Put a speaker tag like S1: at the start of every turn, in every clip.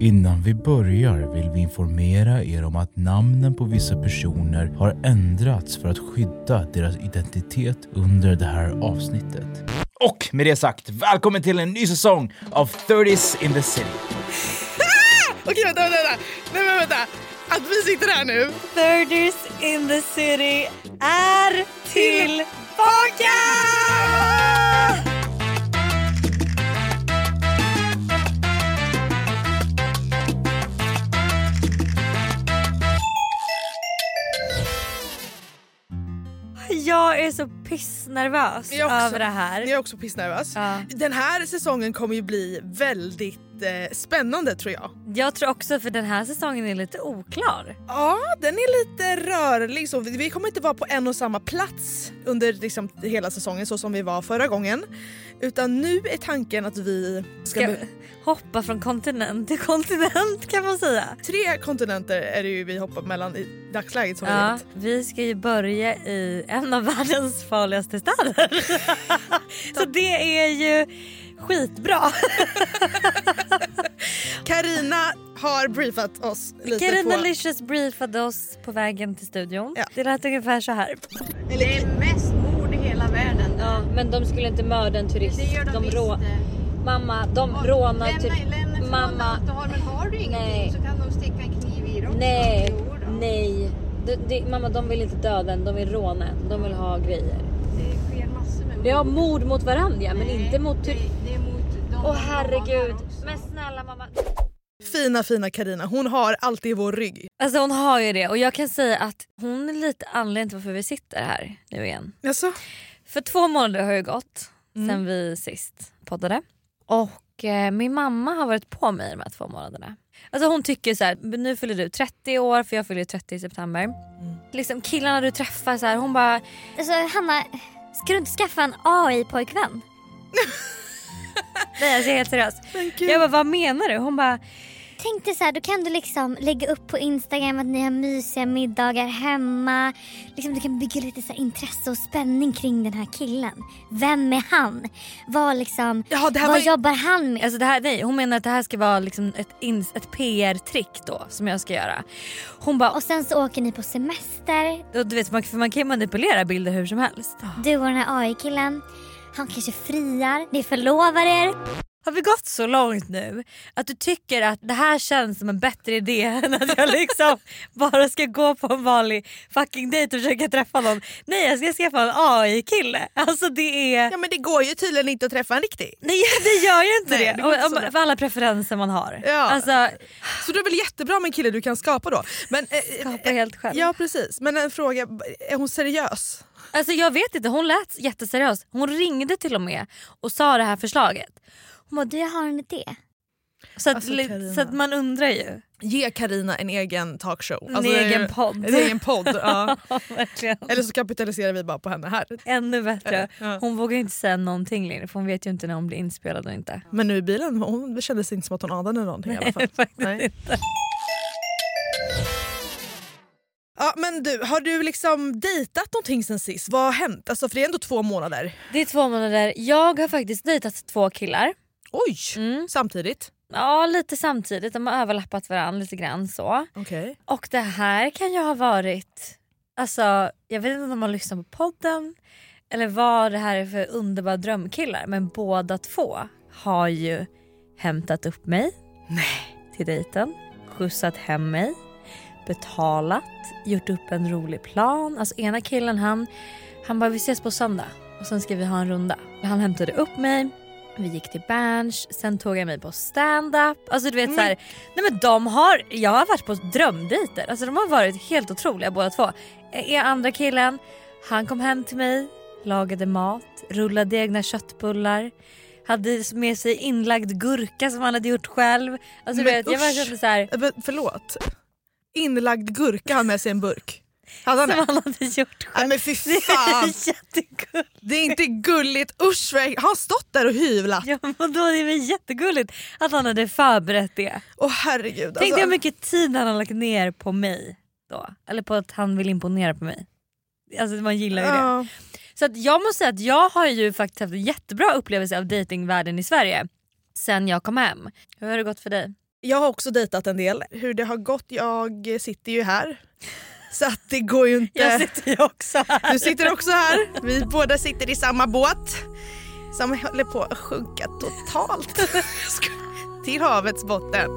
S1: Innan vi börjar vill vi informera er om att namnen på vissa personer har ändrats för att skydda deras identitet under det här avsnittet. Och med det sagt, välkommen till en ny säsong av 30s in the city.
S2: Okej, vänta, vänta, vänta. Nej, men vänta. Att vi sitter här nu.
S3: Thirders in the city är tillbaka! Jag är så pissnervös
S2: Jag också.
S3: över det här.
S2: Jag är också pissnervös.
S3: Ja.
S2: Den här säsongen kommer ju bli väldigt eh, spännande tror jag.
S3: Jag tror också för den här säsongen är lite oklar.
S2: Ja, den är lite rörlig. Så vi vi kommer inte vara på en och samma plats under liksom, hela säsongen så som vi var förra gången. Utan nu är tanken att vi ska...
S3: Ska hoppa från kontinent till kontinent kan man säga.
S2: Tre kontinenter är det ju vi hoppar mellan i dagsläget som vi
S3: Ja,
S2: vet.
S3: vi ska ju börja i en av världens farligaste städer. Så det är ju skitbra.
S2: Carina har briefat oss lite
S3: Carina
S2: på...
S3: Licious briefade oss på vägen till studion.
S2: Ja.
S3: Det lät ungefär så här.
S4: Det är mest mord i hela världen.
S3: typ- Ja, men de skulle inte mörda en turist.
S4: Det gör de, visst.
S3: rå-
S4: det.
S3: Mamma, de
S4: Och
S3: rånar
S4: lämna,
S3: tur-
S4: lämna ifrån
S3: Mamma.
S4: allt du har, men har du ingenting
S3: Nej.
S4: så kan de sticka en kniv i dem.
S3: Nej,
S4: Jo då.
S3: nej. Det, det, mamma, de vill inte döda en, de vill råna en. De vill ha grejer.
S4: Det sker massor med mord.
S3: Ja, mord mot varandra ja, men
S4: Nej,
S3: inte mot
S4: nej,
S3: turister.
S4: det är mot de
S3: Åh
S4: som
S3: herregud.
S4: rånar också.
S3: Men snälla mamma.
S2: Fina, fina Carina. Hon har alltid vår rygg.
S3: Alltså hon har ju det och jag kan säga att hon är lite anledningen till varför vi sitter här nu igen.
S2: Alltså,
S3: För två månader har ju gått
S2: Mm.
S3: sen vi sist poddade. Och eh, min mamma har varit på mig de här två månaderna. Alltså hon tycker så här, nu fyller du 30 år för jag fyller ju 30 i september.
S2: Mm.
S3: Liksom killarna du träffar så här, hon bara
S5: Alltså Hanna, ska du inte skaffa en AI-pojkvän?
S3: nej alltså jag är helt seriös.
S2: men gud.
S3: Jag bara vad menar du? Hon bara
S5: Tänk dig så här, då kan du liksom lägga upp på Instagram att ni har mysiga middagar hemma. Liksom, du kan bygga lite så här intresse och spänning kring den här killen. Vem är han? Vad, liksom,
S2: Ja, det här
S5: vad
S2: var ju-
S5: jobbar han med?
S3: Alltså det här, nej, hon menar att det här ska vara liksom ett, ins- ett PR-trick då som jag ska göra. Hon bara,
S5: Och sen så åker ni på semester,
S3: och du vet man, för man kan ju manipulera bilder hur som helst.
S5: du och den här AI-killen. Han kanske friar, ni förlovar er.
S3: Har vi gått så långt nu att du tycker att det här känns som en bättre idé än att jag liksom bara ska gå på en vanlig fucking dejt och försöka träffa någon. Nej jag ska skaffa en AI-kille. Alltså det är...
S2: Ja men det går ju tydligen inte att träffa en riktig.
S3: Nej det gör ju inte
S2: Nej, det
S3: det.
S2: går inte
S3: Om-
S2: så
S3: om-
S2: bra.
S3: för alla preferenser man har.
S2: Ja.
S3: Alltså
S2: Så det är väl jättebra med en kille du kan skapa då. Men, eh,
S3: skapa helt själv.
S2: Ja precis, men en fråga, är hon seriös?
S3: Alltså jag vet inte, hon lät jätteseriös. Hon ringde till och med och sa det här förslaget. Hon bara,
S5: Du, jag har en idé.
S3: så, att,
S2: Alltså,
S3: li-
S2: Carina.
S3: så att man undrar ju.
S2: Ge Karina en egen talkshow. Alltså,
S3: En egen podd.
S2: En egen podd ja.
S3: Verkligen.
S2: Eller så kapitaliserar vi bara på henne här.
S3: Ännu bättre.
S2: Ja.
S3: Hon vågar ju inte säga någonting längre för hon vet ju inte när hon blir inspelad och inte.
S2: Men nu i bilen, hon det kändes inte som att hon anade någonting i alla fall.
S3: Faktiskt.
S2: Nej. Ja, men du, har du liksom dejtat någonting sen sist? Vad har hänt? Alltså, för det är ändå två månader.
S3: Det är två månader. Jag har faktiskt dejtat två killar.
S2: Oj! Samtidigt.
S3: Ja lite samtidigt, de har överlappat varandra lite grann så.
S2: Okej.
S3: Och det här kan ju ha varit, alltså jag vet inte om de har lyssnat på podden eller vad det här är för underbara drömkillar men båda två har ju hämtat upp mig till dejten, skjutsat hem mig, betalat, gjort upp en rolig plan. Alltså ena killen han, han bara vi ses på söndag och sen ska vi ha en runda. Han hämtade upp mig, vi gick till Berns, sen tog jag mig på stand-up. Alltså du vet så här, nej men de har, jag har varit på drömdejter. Alltså de har varit helt otroliga båda två. Är andra killen, han kom hem till mig, lagade mat, rullade egna köttbullar. Hade med sig inlagd gurka som han hade gjort själv. Alltså du
S2: Men
S3: vet, jag bara
S2: usch.
S3: kände så här,
S2: Eh, men Förlåt. Inlagd gurka har med sig en burk. Hade han
S3: som
S2: det?
S3: han hade gjort själv.
S2: Nej men fy
S3: Det är
S2: fan,
S3: jättegulligt.
S2: det är inte gulligt. Usch, vad- har han stått där och hyvlat?
S3: Ja, men då är det väl jättegulligt att han hade förberett det.
S2: Åh herregud. alltså.
S3: Tänk dig hur mycket tid han har lagt ner på mig då. Eller på att han vill imponera på mig. Alltså man gillar ju det.
S2: Ja.
S3: Så att jag måste säga att jag har ju faktiskt haft en jättebra upplevelse av datingvärlden i Sverige sen jag kom hem. Hur har det gått för dig?
S2: Jag har också dejtat en del. Hur det har gått, jag sitter ju här. Så att det går ju inte...
S3: Jag sitter ju också här.
S2: Du sitter också här. Vi båda sitter i samma båt som håller på att sjunka totalt till havets botten.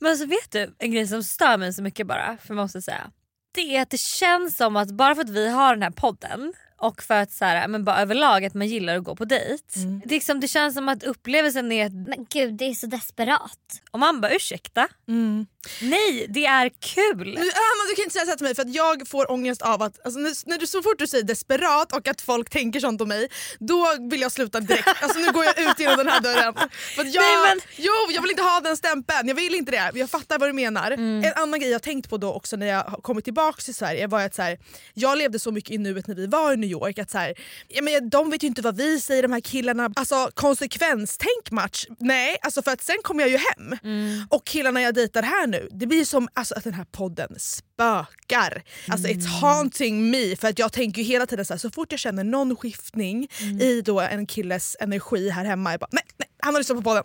S3: Men så vet du en grej som stör mig så mycket bara, för jag måste säga. Det är att det känns som att bara för att vi har den här podden och för att så här, men bara överlag att man gillar att gå på dejt. Det, är liksom, det känns som att upplevelsen är att
S5: Men gud det är så desperat.
S3: om man bara ursäkta, Mm. nej det är kul.
S2: Du, ah, men du kan inte säga så här till mig för att jag får ångest av att alltså, när, när du, så fort du säger desperat och att folk tänker sånt om mig då vill jag sluta direkt. Alltså, nu går jag ut genom den här dörren. För att jag,
S3: Nej, men-
S2: Jo jag vill inte ha den stämpeln, jag vill inte det. Jag fattar vad du menar.
S3: Mm.
S2: En annan grej jag tänkt på då också när jag har kommit tillbaka till Sverige var att så här, jag levde så mycket i nuet när vi var i New York att så här, ja, men de vet ju inte vad vi säger de här killarna. Alltså konsekvenstänk match. Nej alltså för att sen kommer jag ju hem.
S3: Mm.
S2: Och killarna jag dejtar här nu, det blir som alltså, att den här podden spökar. Alltså it's haunting me för att jag tänker ju hela tiden så här, så fort jag känner någon skiftning i då en killes energi här hemma, jag bara nej, nej han har lyssnat på podden.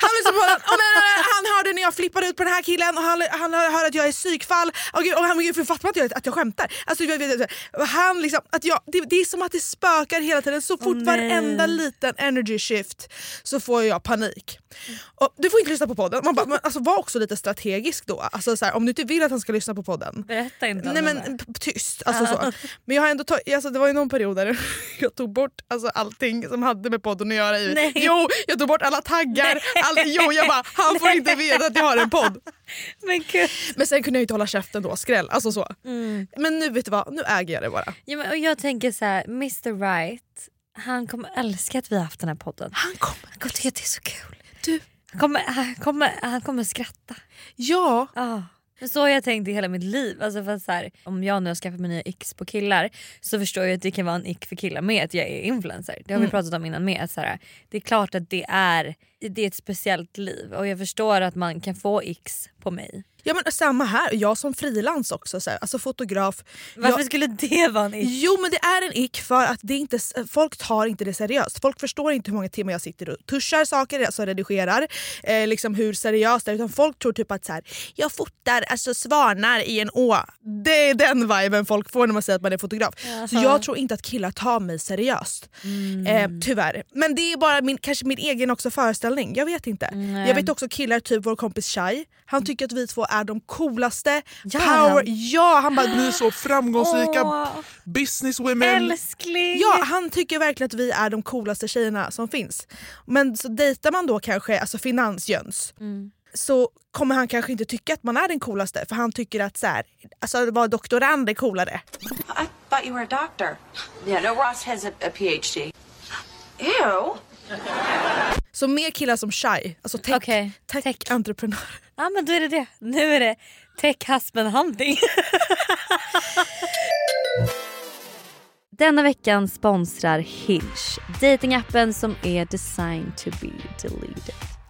S2: Han har lyssnat på podden. Åh, nej, nej, nej. Han hörde när jag flippade ut på den här killen och han, han hör att jag är psykfall. Åh gud, oh, gud, för fattar man att jag, att jag skämtar? Alltså, jag, vet inte. han liksom, att jag, det, det är som att det spökar hela tiden. Så fort
S3: nej.
S2: varenda liten energy shift så får jag panik. Och, du får inte lyssna på podden. Man bara, men, alltså, var också lite strategisk då. Alltså, så här, om du inte vill att han ska lyssna på podden,
S3: Berätta inte om
S2: Nej
S3: det
S2: men
S3: där.
S2: p- tyst. Alltså, så. Men jag har ändå tag- alltså, det var ju någon period där jag tog bort alltså, allting som hade med podden att göra. I.
S3: Nej.
S2: Jo, jag tog bort alla taggar. All- jo, jag bara, han får inte veta att jag har en podd.
S3: Men gud.
S2: Men sen kunde jag ju inte hålla käften då, skräll. Alltså, så. Men nu vet du vad, nu äger jag det bara.
S3: Ja, men, och jag tänker så här, Mr Right, han kommer älska att vi har haft den här podden.
S2: Han kommer.
S3: Han kommer tycka att det är så kul.
S2: Du.
S3: Han kommer, han kommer, han kommer skratta.
S2: Ja.
S3: Ja. Ah. Men Så har jag tänkt i hela mitt liv. Alltså för att så här, om jag nu har skaffat mig nya x på killar så förstår jag att det kan vara en ick för killar med att jag är influencer. Det har vi pratat om innan med. att Så här, det är klart att det är, det är ett speciellt liv och jag förstår att man kan få x på mig.
S2: ja men samma här, jag som frilans också. Så här, alltså fotograf.
S3: Varför
S2: Jag-
S3: skulle det vara en ick?
S2: Jo men det är en ick för att det är inte, folk tar inte det seriöst. Folk förstår inte hur många timmar jag sitter och tuschar saker, alltså redigerar, eh, liksom hur seriöst det är. Utan folk tror typ att så här, jag fotar alltså svanar i en å. Det är den viben folk får när man säger att man är fotograf. Så jag tror inte att killar tar mig seriöst. Eh, tyvärr. Men det är bara min, kanske min egen också föreställning, jag vet inte. Jag vet också killar, typ vår kompis Shai, han tycker att vi två är de coolaste.
S3: Gör
S2: power,
S3: han?
S2: ja han bara
S6: Ni är så framgångsrika
S3: Åh,
S6: businesswomen.
S3: älskling!
S2: Ja, han tycker verkligen att vi är de coolaste tjejerna som finns. Men så dejtar man då kanske alltså finansjöns
S3: Mm.
S2: så kommer han kanske inte tycka att man är den coolaste för han tycker att så här, alltså, att vara doktorand är coolare.
S7: I thought you were a doctor. Yeah, no, Ross has a, a PhD. Ew.
S2: Så mer killar som Shai, alltså tech,
S3: Okej,
S2: tech,
S3: tech.
S2: entreprenör.
S3: Ja men då är det det. Nu är det tech husband hunting. Denna veckan sponsrar Hinge, datingappen som är designed to be deleted.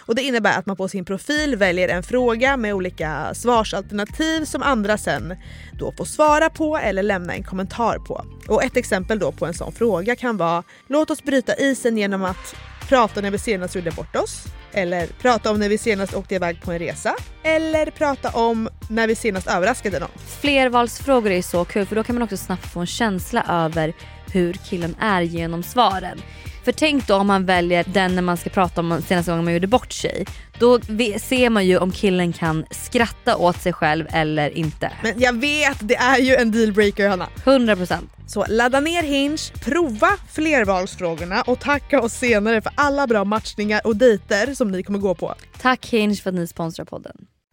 S2: och det innebär att man på sin profil väljer en fråga med olika svarsalternativ som andra sen då får svara på eller lämna en kommentar på. Och ett exempel då på en sån fråga kan vara “Låt oss bryta isen genom att prata när vi senast gjorde bort oss” eller “Prata om när vi senast åkte iväg på en resa” eller “Prata om när vi senast överraskade någon”.
S3: Flervalsfrågor är så kul för då kan man också snabbt få en känsla över hur killen är genom svaren. För tänk då om man väljer den när man ska prata om senaste gången man gjorde bort sig. Då ve- ser man ju om killen kan skratta åt sig själv eller inte.
S2: Men jag vet, det är ju en dealbreaker Hanna.
S3: 100%.
S2: Så ladda ner Hinge, prova flervalsfrågorna och tacka oss senare för alla bra matchningar och dejter som ni kommer gå på.
S3: Tack Hinge för att ni sponsrar podden.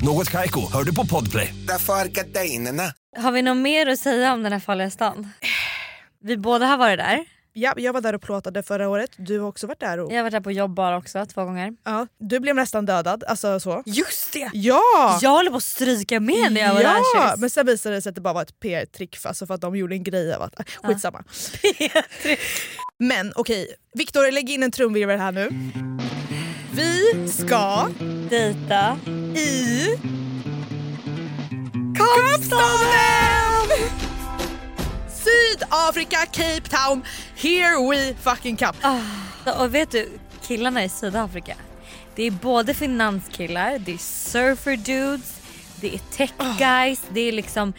S8: Något Kaiko, hör du på podplay.
S9: Därför är gardinerna.
S3: Har vi något mer att säga om den här farliga stan? Vi båda har varit där.
S2: Ja, jag var där och plåtade förra året. Du har också varit där och...
S3: Jag har varit där på jobb bara också, två gånger.
S2: Ja, du blev nästan dödad. Alltså så.
S3: Just det!
S2: Ja!
S3: Jag håller på att stryka med när jag var
S2: ja,
S3: där sist.
S2: men sen visade det sig att det bara var ett PR-trick för, alltså för att de gjorde en grej av att... Skitsamma. men okej, Viktor lägg in en trumvirvel här nu. Vi ska...
S3: Dejta.
S2: I... Kapstaden! Sydafrika, Cape Town, here we fucking come.
S3: Ah, Och vet du, killarna i Sydafrika. Det är både finanskillar, det är surfer dudes, det är tech guys, det är liksom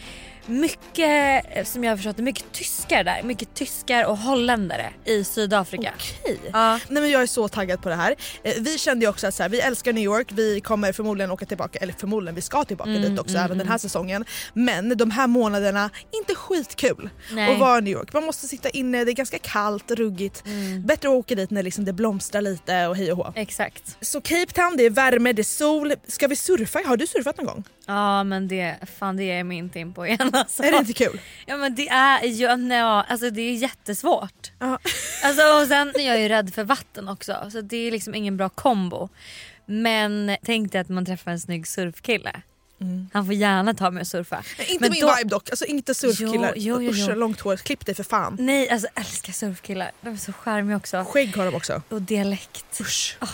S3: mycket, eh, som jag har förstått det, mycket tyskar där. Mycket tyskar och holländare i Sydafrika.
S2: Okej. Nej, men jag är så taggad på det här. Eh, Vi kände ju också att så här, vi älskar New York, vi kommer förmodligen åka tillbaka, eller förmodligen vi ska tillbaka
S3: Mm,
S2: dit också
S3: mm,
S2: även den
S3: mm.
S2: här säsongen. Men de här månaderna, inte skitkul
S3: Nej.
S2: att vara i New York. Man måste sitta inne, det är ganska kallt, ruggigt.
S3: Mm.
S2: Bättre att åka dit när liksom det blomstrar lite och hej och hå.
S3: Exakt.
S2: Så Cape Town, det är värme, det är sol. Ska vi surfa? Har du surfat någon gång?
S3: Ja men det, fan det ger mig inte in på igen alltså.
S2: Är det inte kul?
S3: Ja men det är ju, nej, alltså det är jättesvårt. Alltså och sen är jag ju rädd för vatten också så det är liksom ingen bra kombo. Men tänk dig att man träffar en snygg surfkille.
S2: Mm.
S3: Han får gärna ta mig och surfa.
S2: Inte
S3: Men
S2: min
S3: då-
S2: vibe dock, alltså inte surfkillar.
S3: Jo, jo, jo,
S2: Usch,
S3: jo.
S2: långt hår, klipp dig för fan.
S3: Nej alltså älskar surfkillar, de är så charmiga också.
S2: Skägg har de också.
S3: Och dialekt. Ah,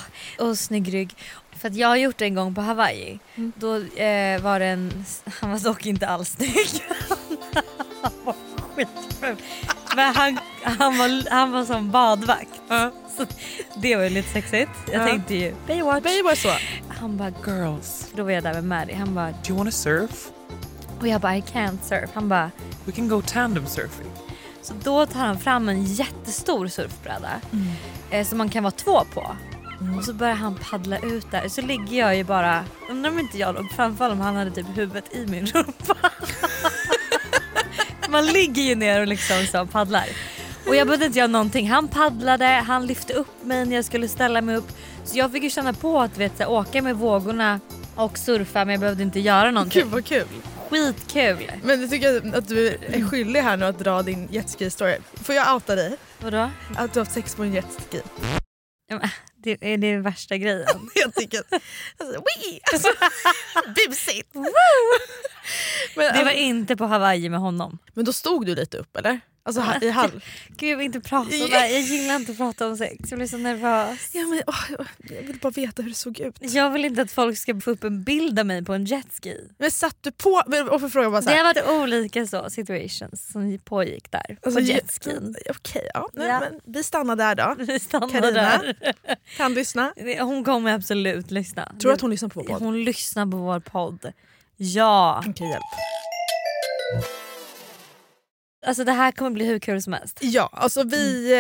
S3: och snygg rygg. För att jag har gjort det en gång på Hawaii. Då eh, var det en, han var dock inte alls snygg. han var skitful. Men han, han, var, han var som badvakt. Så det var ju lite sexigt. Jag
S2: Ja.
S3: tänkte ju Baywatch.
S2: Baywatch så.
S3: Han bara girls. Då var jag där med Maddie. Han bara
S10: Do you want to surf?
S3: och jag bara I can't surf. Han bara
S10: We can go tandem surfing.
S3: så då tar han fram en jättestor surfbräda
S10: Mm.
S3: eh, som man kan vara två på. Och så börjar han paddla ut där. Så ligger jag ju bara, undrar om inte jag låg framför honom, han hade typ huvudet i min rumpa. man ligger ju ner och liksom så paddlar. Och jag behövde inte göra någonting. Han paddlade, han lyfte upp mig när jag skulle ställa mig upp. Så jag fick ju känna på att vet, så här, åka med vågorna och surfa men jag behövde inte göra någonting.
S2: Gud vad kul.
S3: Skitkul!
S2: Men jag tycker att du är skyldig här nu att dra din jetski-story. Får jag outa dig?
S3: Vadå?
S2: Att du har haft sex på en jetski.
S3: Ja, men, Det är det värsta grejen.
S2: jag tycker... Alltså, wee! Alltså, busigt! Men,
S3: det var
S2: alltså-
S3: inte på Hawaii med honom.
S2: Men då stod du lite upp eller? Alltså ha- i hall?
S3: Gud jag vill inte prata om det här. Jag gillar inte att prata om sex. Jag blir så nervös.
S2: Ja, men, åh, jag vill bara veta hur det såg ut.
S3: Jag vill inte att folk ska få upp en bild av mig på en jetski.
S2: Men satt du på... men- Och för fråga bara så
S3: Det
S2: här.
S3: har varit olika så situations som pågick där
S2: Alltså,
S3: på
S2: je-
S3: jetskin.
S2: Okej, ja. Nej,
S3: Ja.
S2: Men, vi stannar där då.
S3: Vi stannar
S2: Carina, kan lyssna.
S3: där. Hon kommer absolut lyssna.
S2: Tror du att hon lyssnar på vår podd?
S3: Hon lyssnar Mm. på vår podd. Ja.
S2: Okej, hjälp.
S3: Alltså det här kommer bli hur kul som helst.
S2: Ja, alltså vi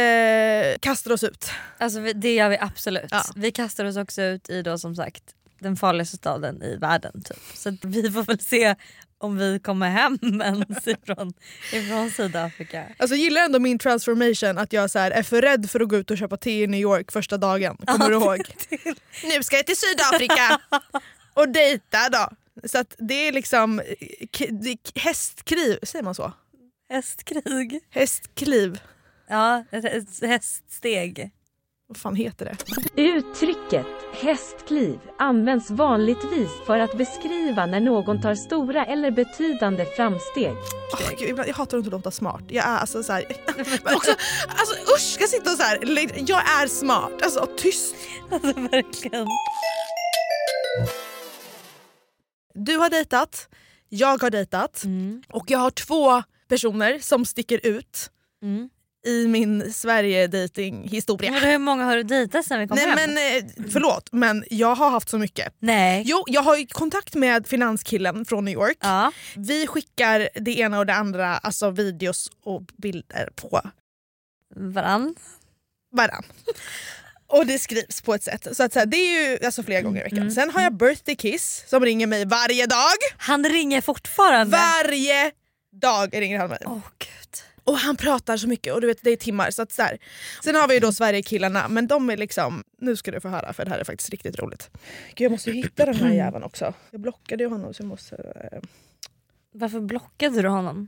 S2: eh, kastar oss ut.
S3: Alltså vi- det gör vi absolut. Vi kastar oss också ut i då som sagt den farligaste staden i världen typ. Så att vi får väl se om vi kommer hem ens ifrån, ifrån Sydafrika.
S2: Alltså jag gillar ändå min transformation att jag så här, är för rädd för att gå ut och köpa te i New York första dagen. Kommer du ihåg? Nu ska jag till Sydafrika och dejta då. Så att det är liksom eh, k- det är k- hästkliv, säger man så?
S3: Hästkrig?
S2: Hästkliv.
S3: Ja, ett, ett häststeg.
S2: Vad fan heter det?
S11: Uttrycket hästkliv används vanligtvis för att beskriva när någon tar stora eller betydande framsteg.
S2: Åh, Gud, ibland, jag hatar inte att låta smart. Jag är alltså så här, men också, alltså usch, ska jag sitta och så här, lägg- jag är smart. Alltså tyst.
S3: Alltså verkligen.
S2: Du har dejtat, jag har dejtat
S11: Mm.
S2: och jag har två personer som sticker ut
S3: Mm.
S2: i min Sverige-dejting-historia.
S3: Men hur många har du dejtat sen vi kom
S2: Nej
S3: hem?
S2: men eh, förlåt men jag har haft så mycket.
S3: Nej.
S2: Jo jag har ju kontakt med finanskillen från New York. Vi skickar det ena och det andra, alltså videos och bilder på
S3: Varann.
S2: varann. Och det skrivs på ett sätt. Så, att, så här, det är ju alltså, flera gånger i veckan. Sen har jag birthday kiss som ringer mig varje dag.
S3: Han ringer fortfarande?
S2: Varje dag ringer han mig.
S3: Åh,
S2: Och han pratar så mycket och du vet det är timmar. Så att så här. Sen har vi ju då Sverigekillarna men de är liksom, nu ska du få höra för det här är faktiskt riktigt roligt. Gud jag måste ju hitta den här jäveln också. Jag blockade ju honom så jag måste... eh,
S3: Varför blockade du honom?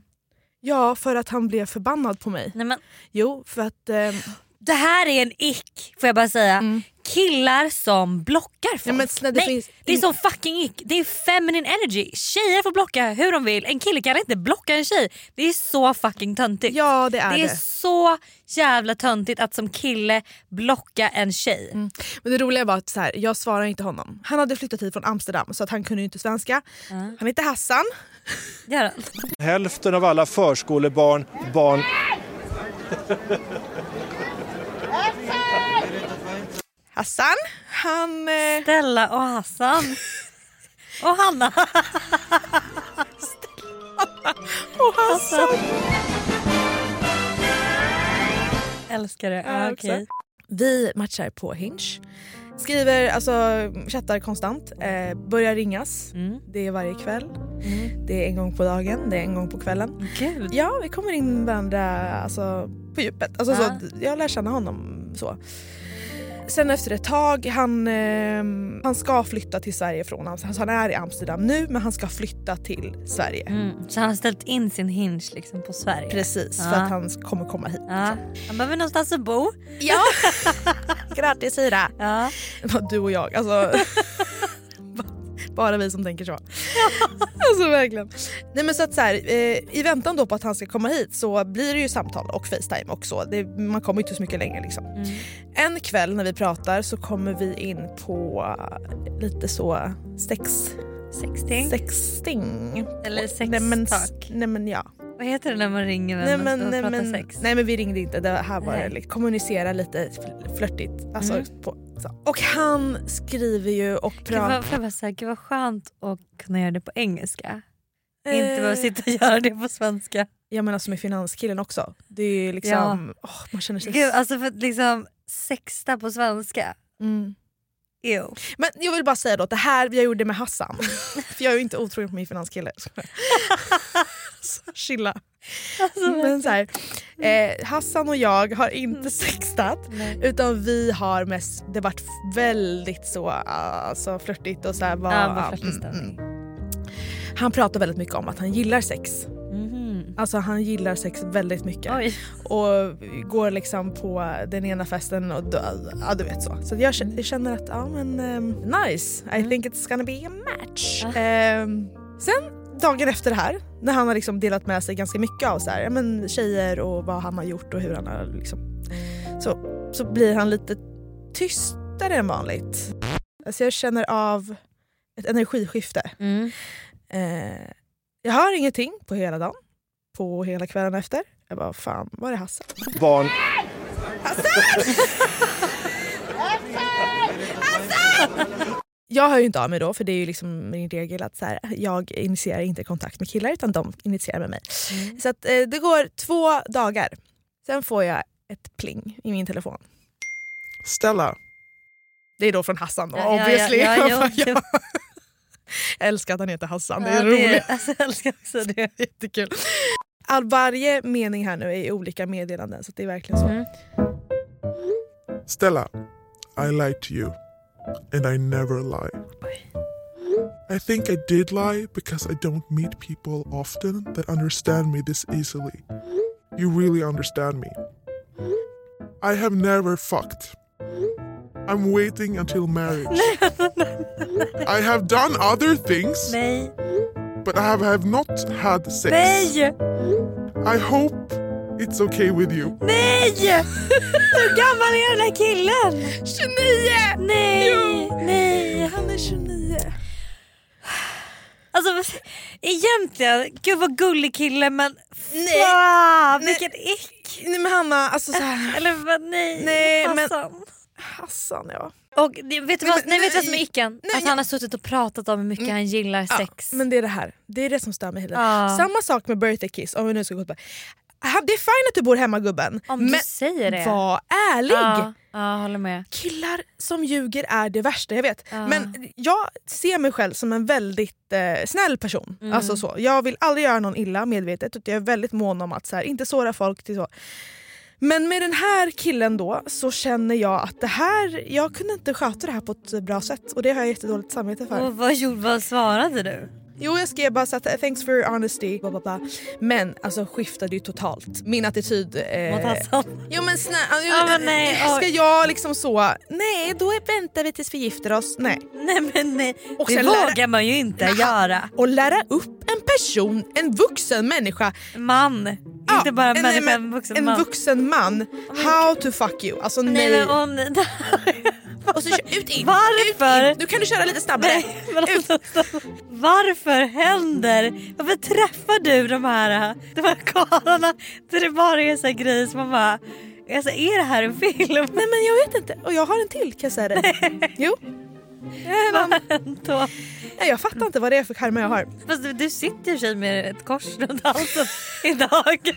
S2: Ja för att han blev förbannad på mig.
S3: Nej, men...
S2: Jo för att... ehm,
S3: Det här är en ick får jag bara säga. Killar som blockar folk.
S2: Mm. Nej, men snälla, det
S3: Nej,
S2: finns
S3: det är
S2: in-
S3: så fucking ick. Det är feminine energy. Tjejer får blocka hur de vill. En kille kan inte blocka en tjej. Det är så fucking töntigt.
S2: Ja det är
S3: det är
S2: det.
S3: så jävla töntigt att som kille blocka en tjej.
S2: Men det roliga var att så här, jag svarade inte honom. Han hade flyttat hit från Amsterdam så att han kunde ju inte svenska. Han hette Hassan.
S3: Gör han?
S12: Hälften av alla förskolebarn, barn...
S2: Hassan, han... Eh...
S3: Stella och Hassan. och Hanna.
S2: och Hassan.
S3: Älskar det.
S2: Ja,
S3: Ja,
S2: också.
S3: okej.
S2: Vi matchar på Hinge. Skriver, alltså chattar konstant. Eh, börjar ringas.
S3: Mm.
S2: Det är varje kväll. Det är en gång på dagen, det är en gång på kvällen.
S3: Gud.
S2: Ja, vi kommer in varandra alltså, på djupet. Alltså,
S3: Ja.
S2: så, att jag lär känna honom så. Sen efter ett tag, han, eh, han ska flytta till Sverige från Amsterdam. Alltså, han är i Amsterdam nu men han ska flytta till Sverige.
S3: Mm. Så han har ställt in sin hinge liksom på Sverige.
S2: Precis,
S3: Ja.
S2: för att han kommer komma hit.
S3: Ja. Han behöver någonstans att bo.
S2: Ja! Grattis Ira!
S3: Ja.
S2: Du och jag, alltså. Bara vi som tänker så. alltså verkligen. Nej, men så att så här, eh, I väntan då på att han ska komma hit så blir det ju samtal och Facetime och så. Det, man kommer inte så mycket längre. Liksom.
S3: Mm.
S2: En kväll när vi pratar så kommer vi in på eh, lite så sex...
S3: Sexting.
S2: Sexting.
S3: Eller
S2: Och- nej, men, s-
S3: sextalk.
S2: nej men ja.
S3: Vad heter det när man ringer
S2: Nej
S3: vem
S2: men,
S3: och
S2: nej,
S3: pratar
S2: men,
S3: sex?
S2: nej men vi ringde inte, det här var
S3: Nej.
S2: det, liksom, kommunicera lite fl- flörtigt. Alltså,
S3: Mm.
S2: på, så. Och han skriver ju och
S3: Gud
S2: pratar...
S3: vad, får jag bara säga, gud vad skönt att kunna göra det på engelska.
S2: Eh.
S3: Inte behöva sitta och göra det på svenska.
S2: Ja men alltså med finanskillen också. Det är ju liksom, åh man känner sig...
S3: Gud, alltså för att liksom sexta på svenska.
S2: Mm.
S3: Ew. Alltså,
S2: Men jag vill bara säga då att det här jag gjorde med Hassan, för jag är ju inte otrogen på min finanskille. så chilla. men så här, eh, Hassan och jag har
S3: Mm.
S2: inte sextat utan vi har mest, det varit väldigt så alltså, flörtigt och så här, var,
S3: Ja, vad
S2: mm,
S3: flörtig stämning.
S2: Han pratar väldigt mycket om att han gillar sex.
S3: Mhm.
S2: Alltså han gillar sex väldigt mycket.
S3: Oj.
S2: Och går liksom på den ena festen och då, ja du vet så. Så jag känner, jag känner att ja men ehm, nice,
S3: Mm.
S2: I think it's gonna be a match. Ehm, sen dagen efter det här när han har liksom delat med sig ganska mycket av så här, ja, men tjejer och vad han har gjort och hur han har liksom. Så, så blir han lite tystare än vanligt. Alltså jag känner av ett energiskifte.
S3: Mm.
S2: Eh, jag hör ingenting på hela dagen, på hela kvällen efter. Jag bara, fan var är Hassan?
S12: barn...
S2: Jag hör ju inte av mig då för det är ju liksom min regel att så här, jag initierar inte kontakt med killar utan de initierar med mig.
S3: Mm.
S2: Så att, eh, det går två dagar, sen får jag ett pling i min telefon.
S6: Stella.
S2: Det är då från Hassan då,
S3: Ja, ja,
S2: obviously.
S3: ja, ja, jo,
S2: jag älskar att han heter Hassan, det
S3: Ja,
S2: är
S3: det-
S2: roligt.
S3: alltså, jag älskar också det.
S2: Jättekul. All, varje mening här nu är i olika meddelanden så att det är verkligen
S3: Mm.
S2: så.
S6: Stella, I lied to you. And I never lie. I think I did lie because I don't meet people often that understand me this easily. You really understand me. I have never fucked. I'm waiting until marriage. I have done other things. But I have, have not had sex.
S3: Nej!
S6: I hope it's okay with you.
S3: Nej! Hur gammal är den här killen?
S2: 29!
S3: Nej! Nej!
S2: Han är 29.
S3: Alltså egentligen, gud vad gullig kille men fan vilket ick!
S2: Nej men Hanna, alltså så här.
S3: Eller vad, nej.
S2: Nej, men-
S3: Hassan.
S2: Hassan ja.
S3: Och det- vet du
S2: Nej,
S3: vad,
S2: men-
S3: nej, Mm. vet du vad som är
S2: nej.
S3: icken? Att han har suttit och pratat om hur mycket han gillar
S2: Ja,
S3: sex.
S2: men det är det här. Det är det som stör mig hela tiden.
S3: Ja.
S2: Samma sak med birthday kiss. Om vi nu ska gå tillbaka. "Ah, det är fint att du bor hemma gubben.
S3: Om du säger det.
S2: Var ärlig.
S3: Ja, ja, håller med.
S2: Killar som ljuger är det värsta jag vet. Men jag ser mig själv som en väldigt eh, snäll person.
S3: Mm.
S2: Alltså så. Jag vill aldrig göra någon illa medvetet utan jag är väldigt mån om att så här, inte såra folk. till så. Men med den här killen då så känner jag att det här, jag kunde inte sköta det här på ett bra sätt och det har jag jättedåligt samvete för.
S3: Och vad, gjorde, vad svarade du?
S2: Jo jag skrev bara så att eh, thanks for your honesty, bla, bla, bla. men alltså skiftade ju totalt. Min attityd... Eh,
S3: Mot Hassan?
S2: Jo men snälla,
S3: Ja, men nej, oj.
S2: ska jag liksom så, nej då är- väntar vi tills vi gifter oss, nej.
S3: Nej men nej,
S2: Och
S3: det
S2: sen lära-
S3: vågar man ju inte göra.
S2: Och lära upp en person, en vuxen människa.
S3: Man, inte bara en människa, en vuxen
S2: en
S3: man.
S2: vuxen man. How to fuck you, alltså nej.
S3: Nej, men om,
S2: och så kör, ut in,
S3: Varför?
S2: ut in. Nu kan du köra lite snabbare.
S3: Nej, men alltså, varför händer, varför träffar du de här, äh, de här karlarna där det bara är så här grejer som man bara, alltså, är det här en film?
S2: Nej men jag vet inte, och jag har en till kan jag säga dig. Jo.
S3: Då.
S2: Nej, jag fattar inte vad det är för karma jag har.
S3: Fast du, du sitter i och för sig med ett kors runt halsen idag.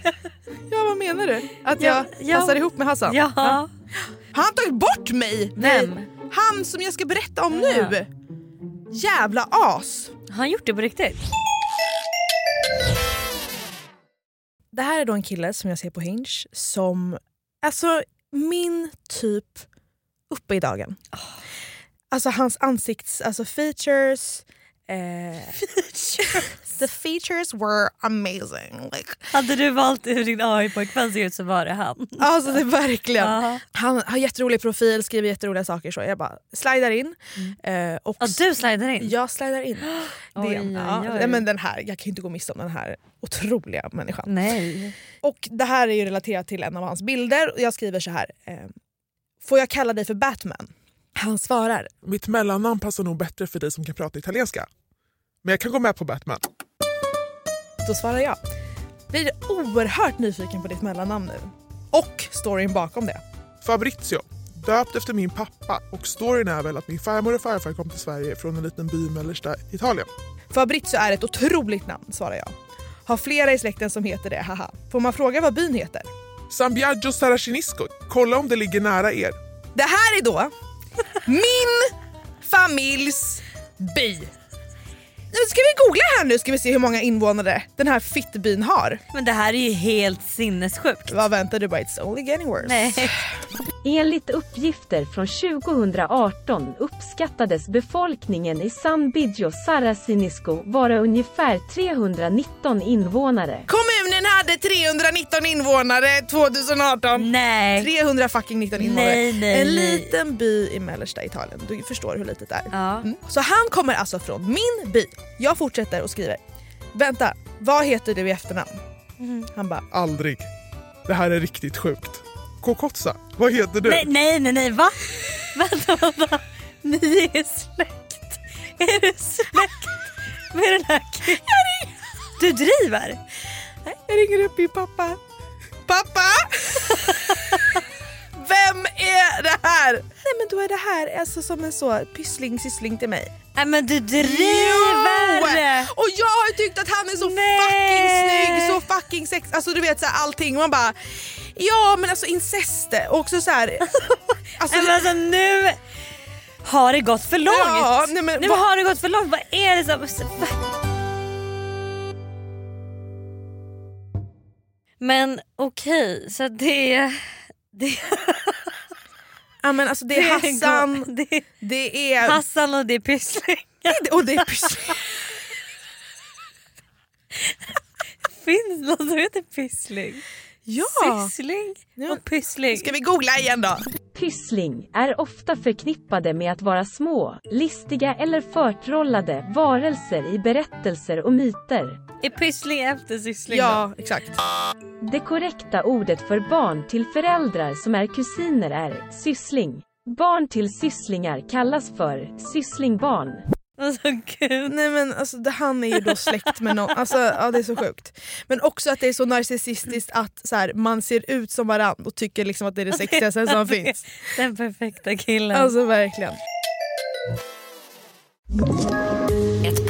S2: Ja vad menar du? Att
S3: Ja,
S2: jag
S3: ja.
S2: passar ihop med Hassan?
S3: Ja.
S2: Han har tagit bort mig!
S3: Vem?
S2: Han som jag ska berätta om
S3: Ja.
S2: nu! Jävla as!
S3: Har han gjort det på riktigt?
S2: Det här är då en kille som jag ser på Hinge som, alltså min typ uppe i dagen. Alltså hans ansikts, alltså features. Eh, features. The features were amazing. Like,
S3: Hade du valt hur din AI-pojkvän ser ut så var det han.
S2: Alltså det är verkligen.
S3: Ja.
S2: Han har jätterolig profil, skriver jätteroliga saker. Så jag bara slidar in. Eh, och
S3: Ja, du slidar in?
S2: Jag slidar in. Det,
S3: Oj, oj,
S2: ja,
S3: oj.
S2: nej, men den här, jag kan ju inte gå miste om den här otroliga människan.
S3: Nej.
S2: Och det här är ju relaterat till en av hans bilder. Och jag skriver så här. Eh, Får jag kalla dig för Batman? Han svarar.
S6: Mitt mellannamn passar nog bättre för dig som kan prata italienska. Men jag kan gå med på Batman.
S2: Då svarar jag. Blir oerhört nyfiken på ditt mellannamn nu. Och storyn bakom det.
S6: Fabrizio, döpt efter min pappa och storyn är väl att min farmor och farfar kom till Sverige från en liten by i mellersta Italien.
S2: Fabrizio är ett otroligt namn, svarar jag. Har flera i släkten som heter det, haha. Får man fråga vad byn heter?
S6: San Biagio Saracinisco, kolla om det ligger nära er.
S2: Det här är då min familjs by. Nu ska vi googla här nu ska vi se hur många invånare den här fittbyn har.
S3: Men det här är ju helt sinnessjukt.
S2: Vad väntar du bara? It's only getting worse.
S11: Nej. Enligt uppgifter från 2018 uppskattades befolkningen i San Biggio Saracinisco vara ungefär 319 invånare.
S2: Kommunen hade 319 invånare 2018.
S3: Nej.
S2: 300 fucking 19 invånare.
S3: Nej, nej,
S2: en
S3: nej.
S2: liten by i mellersta Italien. Du förstår hur litet det är.
S3: Ja.
S2: Mm. Så han kommer alltså från min by. Jag fortsätter och skriver. Vänta, vad heter du i efternamn? Han bara,
S6: Aldrig. Det här är riktigt sjukt. Kokotsa, vad heter du?
S3: Nej, nej, nej, nej va? vänta, vänta. Ni är släkt. Är du släkt med den här killen? Du driver?
S2: Jag ringer upp min pappa. Pappa! Vem är det här? Nej men då är det här alltså som en så pyssling syssling till mig.
S3: Nej men du driver!
S2: Jo! Och jag har ju tyckt att han är så fucking snygg, så fucking sex. Alltså du vet så här, allting. Man bara ja men alltså incest och också så här. Alltså,
S3: Nej, men alltså nu har det gått för långt.
S2: Ja, nej, men
S3: nu
S2: vad-
S3: har det gått för långt. Vad är det som... Men okej, så det... det...
S2: Ja men alltså det är Hassan,
S3: Det,
S2: det är...
S3: Hassan och det är Pyssling.
S2: Och det är Pyssling.
S3: Finns något som heter Pyssling?
S2: Ja.
S3: Syssling och Pyssling.
S2: Ska vi googla igen då?
S11: Pyssling är ofta förknippade med att vara små, listiga eller förtrollade varelser i berättelser och myter.
S3: Är Pyssling efter Syssling
S2: Ja,
S3: då?
S2: exakt.
S11: Det korrekta ordet för barn till föräldrar som är kusiner är syssling. Barn till sysslingar kallas för sysslingbarn.
S3: Alltså gud.
S2: Nej men alltså det, han är ju då släkt med någon, alltså ja, det är så sjukt. Men också att det är så narcissistiskt att så här, man ser ut som varandra och tycker liksom att det är det sexigaste som
S3: Det är
S2: finns.
S3: Den perfekta killen.
S2: Alltså verkligen.
S13: Ett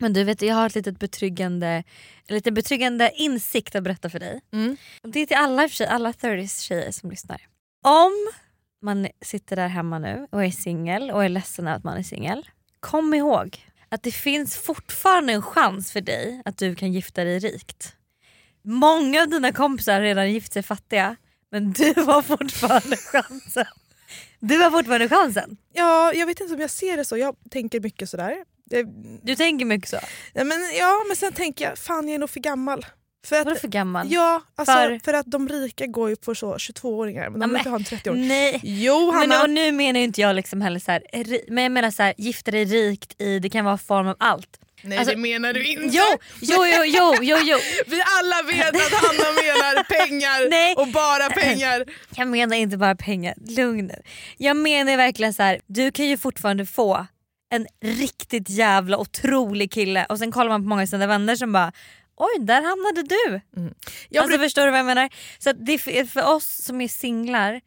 S3: Men du vet jag har ett litet betryggande, en lite betryggande insikt att berätta för dig. Och Det är till alla, i och för sig, alla 30s tjejer som lyssnar. Om man sitter där hemma nu och är singel och är ledsen över att man är singel. Kom ihåg att det finns fortfarande en chans för dig att du kan gifta dig rikt. Många av dina kompisar har redan gift sig fattiga men du har fortfarande chansen. Du har fortfarande chansen.
S2: Ja, jag vet inte om jag ser det så. Jag tänker mycket sådär.
S3: Du tänker mycket så?
S2: Ja men, ja, men sen tänker jag fan jag är nog för gammal. För att,
S3: Vadå för gammal?
S2: Ja, alltså,
S3: För-
S2: för... att de rika går ju på så 22-åringar men de vill inte ha en 30-åring.
S3: Nej.
S2: Jo Hanna.
S3: Men, och nu menar ju inte jag liksom heller så här, ri- men jag menar så här, gifta dig rikt i, det kan vara form av allt.
S2: Nej det menar du inte.
S3: Jo, jo, jo, jo, jo, jo.
S2: Vi alla vet att Hanna menar pengar och bara pengar.
S3: Jag menar inte bara pengar, lugn nu. Jag menar verkligen så här, du kan ju fortfarande få en riktigt jävla otrolig kille och sen kollar man på många av sina vänner som bara Oj, där hamnade du! alltså förstår du vad jag menar? Så att det är för oss som är singlar,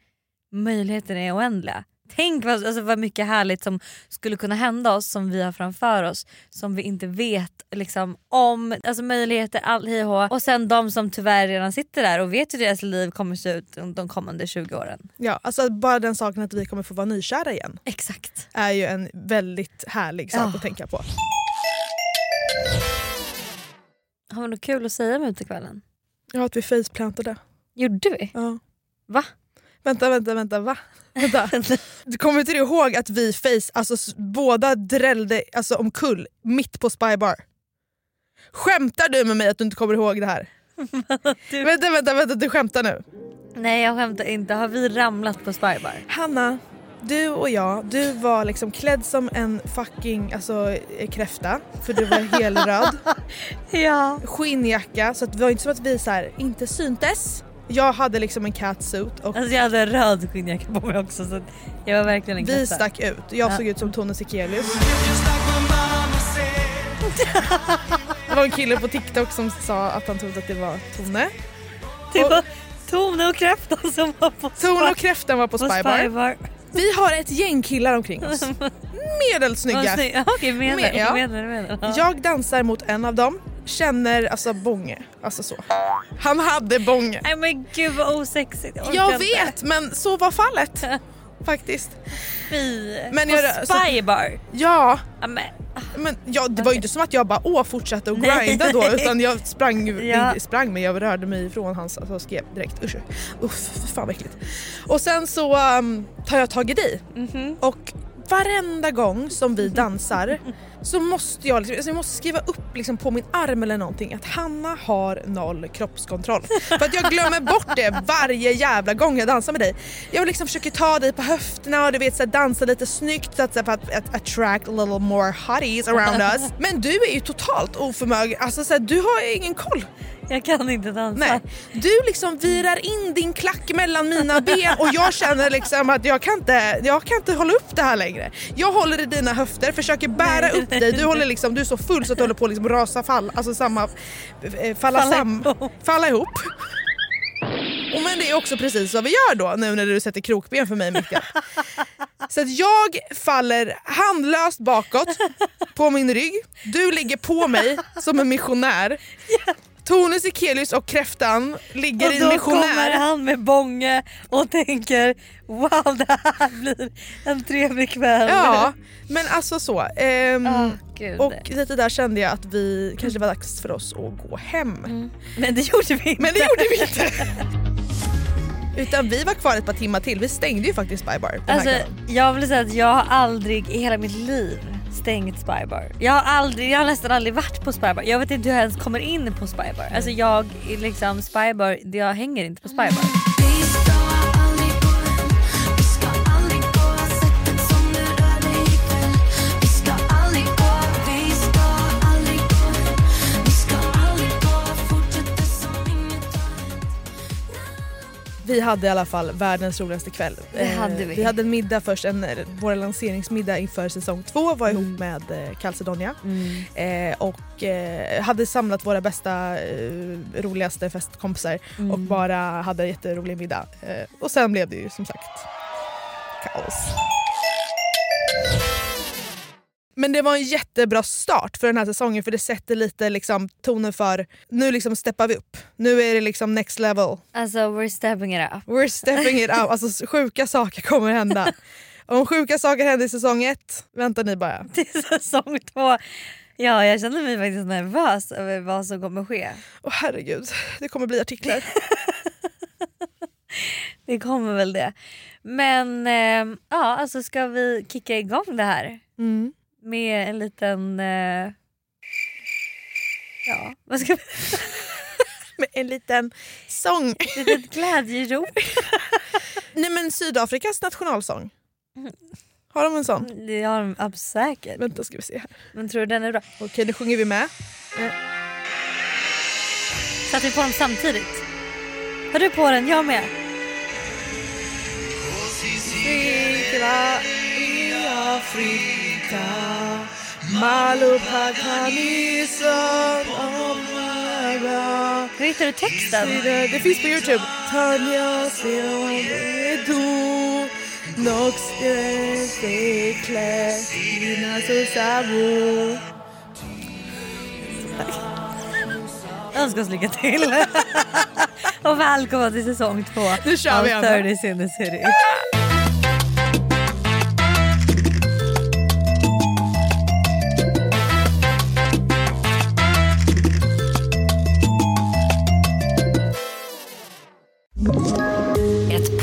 S3: möjligheterna är oändliga. Tänk vad, alltså vad mycket härligt som skulle kunna hända oss som vi har framför oss som vi inte vet liksom, om. Alltså möjligheter, all hej och hå. Och sen de som tyvärr redan sitter där och vet hur deras liv kommer se ut de kommande 20 åren.
S2: Ja, alltså att bara den saken att vi kommer få vara nykära igen.
S3: Exakt.
S2: Är ju en väldigt härlig sak
S3: Ja.
S2: att tänka på.
S3: Har vi något kul att säga om utekvällen?
S2: Ja, att vi faceplantade.
S3: Gjorde vi?
S2: Ja.
S3: Va?
S2: Vänta, vänta, vänta, va? Vänta. du kommer inte du ihåg att vi face, alltså s- båda drällde alltså, omkull mitt på spybar? Skämtar du med mig att du inte kommer ihåg det här? Vänta, vänta, vänta, du skämtar nu?
S3: Nej jag skämtar inte. Har vi ramlat på spybar?
S2: Hanna, du och jag, du var liksom klädd som en fucking alltså, eh, kräfta för du var helröd.
S3: ja.
S2: Skinnjacka, så att det var inte som att vi så här, inte syntes. Jag hade liksom en catsuit och
S3: Alltså jag hade en röd skinnjacka på mig också så att jag var verkligen en
S2: vi
S3: kräfta.
S2: stack ut. Jag
S3: Ja.
S2: såg ut som Tone Sekelius. Det var en kille på TikTok som sa att han trodde att det var Tone.
S3: Det var Tone och kräftan som var på
S2: Tone och kräftan var på
S3: På
S2: Spybar.
S3: Spybar.
S2: Vi har ett gäng killar omkring oss. Medelsnygga.
S3: Vad snygg- ja, Okej menar
S2: Med- ja.
S3: menar menar. Ja.
S2: Jag dansar mot en av dem, känner alltså bånge. Alltså så. Han hade bånge.
S3: Nej men gud vad osexigt. orkar
S2: Jag
S3: inte.
S2: vet men så var fallet. Faktiskt.
S3: Fy.
S2: Men
S3: på
S2: jag- så-
S3: Spybar.
S2: Ja.
S3: Men,
S2: Men ja, det var ju inte som att jag bara åh fortsatte och
S3: Nej.
S2: grinda då utan jag sprang,
S3: Ja.
S2: inte sprang men jag rörde mig ifrån hans, alltså jag skrev direkt usch, uff, fy fan vad äckligt. Och sen så ehm, tar jag tag i dig och varenda gång som vi dansar så måste jag, liksom, alltså jag måste skriva upp liksom på min arm eller någonting att Hanna har noll kroppskontroll. För att jag glömmer bort det varje jävla gång jag dansar med dig. Jag liksom försöker ta dig på höfterna och du vet så här, dansa lite snyggt så att, så här, för att, att attract a little more hotties around us. Men du är ju totalt oförmögen, alltså så här, du har ju ingen koll.
S3: Jag kan inte dansa.
S2: Nej. Du liksom virar in din klack mellan mina ben och jag känner liksom att jag kan inte, jag kan inte hålla upp det här längre. Jag håller i dina höfter, försöker bära upp dig, du, håller liksom, du är så full så att du håller på att liksom rasa fall, alltså samma, eh, falla,
S3: Falla
S2: sam, falla ihop. Och men det är också precis vad vi gör då nu när du sätter krokben för mig mitt i allt. Så att jag faller handlöst bakåt på min rygg. Du ligger på mig som en missionär. Tone Sekelius och kräftan ligger
S3: Och
S2: i
S3: då
S2: en missionär.
S3: kommer han med bånge och tänker wow det här blir en trevlig kväll.
S2: Ja, men alltså så. ehm,
S3: Ah, gud.
S2: och lite där kände jag att vi kanske det var dags för oss att gå hem.
S3: Mm. Men det gjorde vi inte.
S2: Men det gjorde vi inte. Utan vi var kvar ett par timmar till. Vi stängde ju faktiskt Spy Bar. den här
S3: Alltså,
S2: kvällen.
S3: jag vill säga att jag har aldrig i hela mitt liv stängt spybar. Jag har, aldrig, jag har nästan aldrig varit på spybar. Jag vet inte hur jag ens kommer in på spybar. Alltså jag är liksom spybar, jag hänger inte på spybar.
S14: Vi ska aldrig gå, vi ska aldrig gå Vi ska
S2: vi hade i alla fall världens roligaste kväll. Eh,
S3: Det hade vi.
S2: vi hade en middag först, en, vår lanseringsmiddag inför säsong två var
S3: Mm.
S2: ihop med eh, Calcedonia. Eh, och eh, hade samlat våra bästa, eh, roligaste festkompisar och
S3: Mm.
S2: bara hade en jätterolig middag. Eh, och sen blev det ju som sagt kaos. Men det var en jättebra start för den här säsongen för det sätter lite liksom tonen för nu liksom steppar vi upp. Nu är det liksom next level.
S3: Alltså we're stepping it up.
S2: We're stepping it out. Alltså sjuka saker kommer hända. Om sjuka saker händer i säsong ett, vänta ni bara.
S3: Till säsong två. Ja, jag känner mig faktiskt nervös över vad som kommer ske.
S2: Åh herregud, det kommer bli artiklar.
S3: Det kommer väl det. Men eh, ja, alltså ska vi kicka igång det här?
S2: Mm.
S3: Med en liten... Eh, ja, vad ska vi...
S2: Med en liten sång.
S3: Litet glädjerop.
S2: Nej men Sydafrikas nationalsång. Har de en sån?
S3: Det har de ab- säkert.
S2: Vänta ska vi se här.
S3: Men tror du den är bra?
S2: Okej, nu sjunger vi med.
S3: Satte vi på dem samtidigt? Har du på den? Jag med.
S2: Sikla i Afrika Malupakanisan Hur
S3: hittar du texten?
S2: Det finns på Youtube. Tanja Seomedu Noxtesekle Inasusabu
S3: Jag önskar oss lycka till. Och välkomna till säsong två.
S2: Nu kör vi,
S3: av
S2: Anna.
S3: 30 in the city.
S13: Ett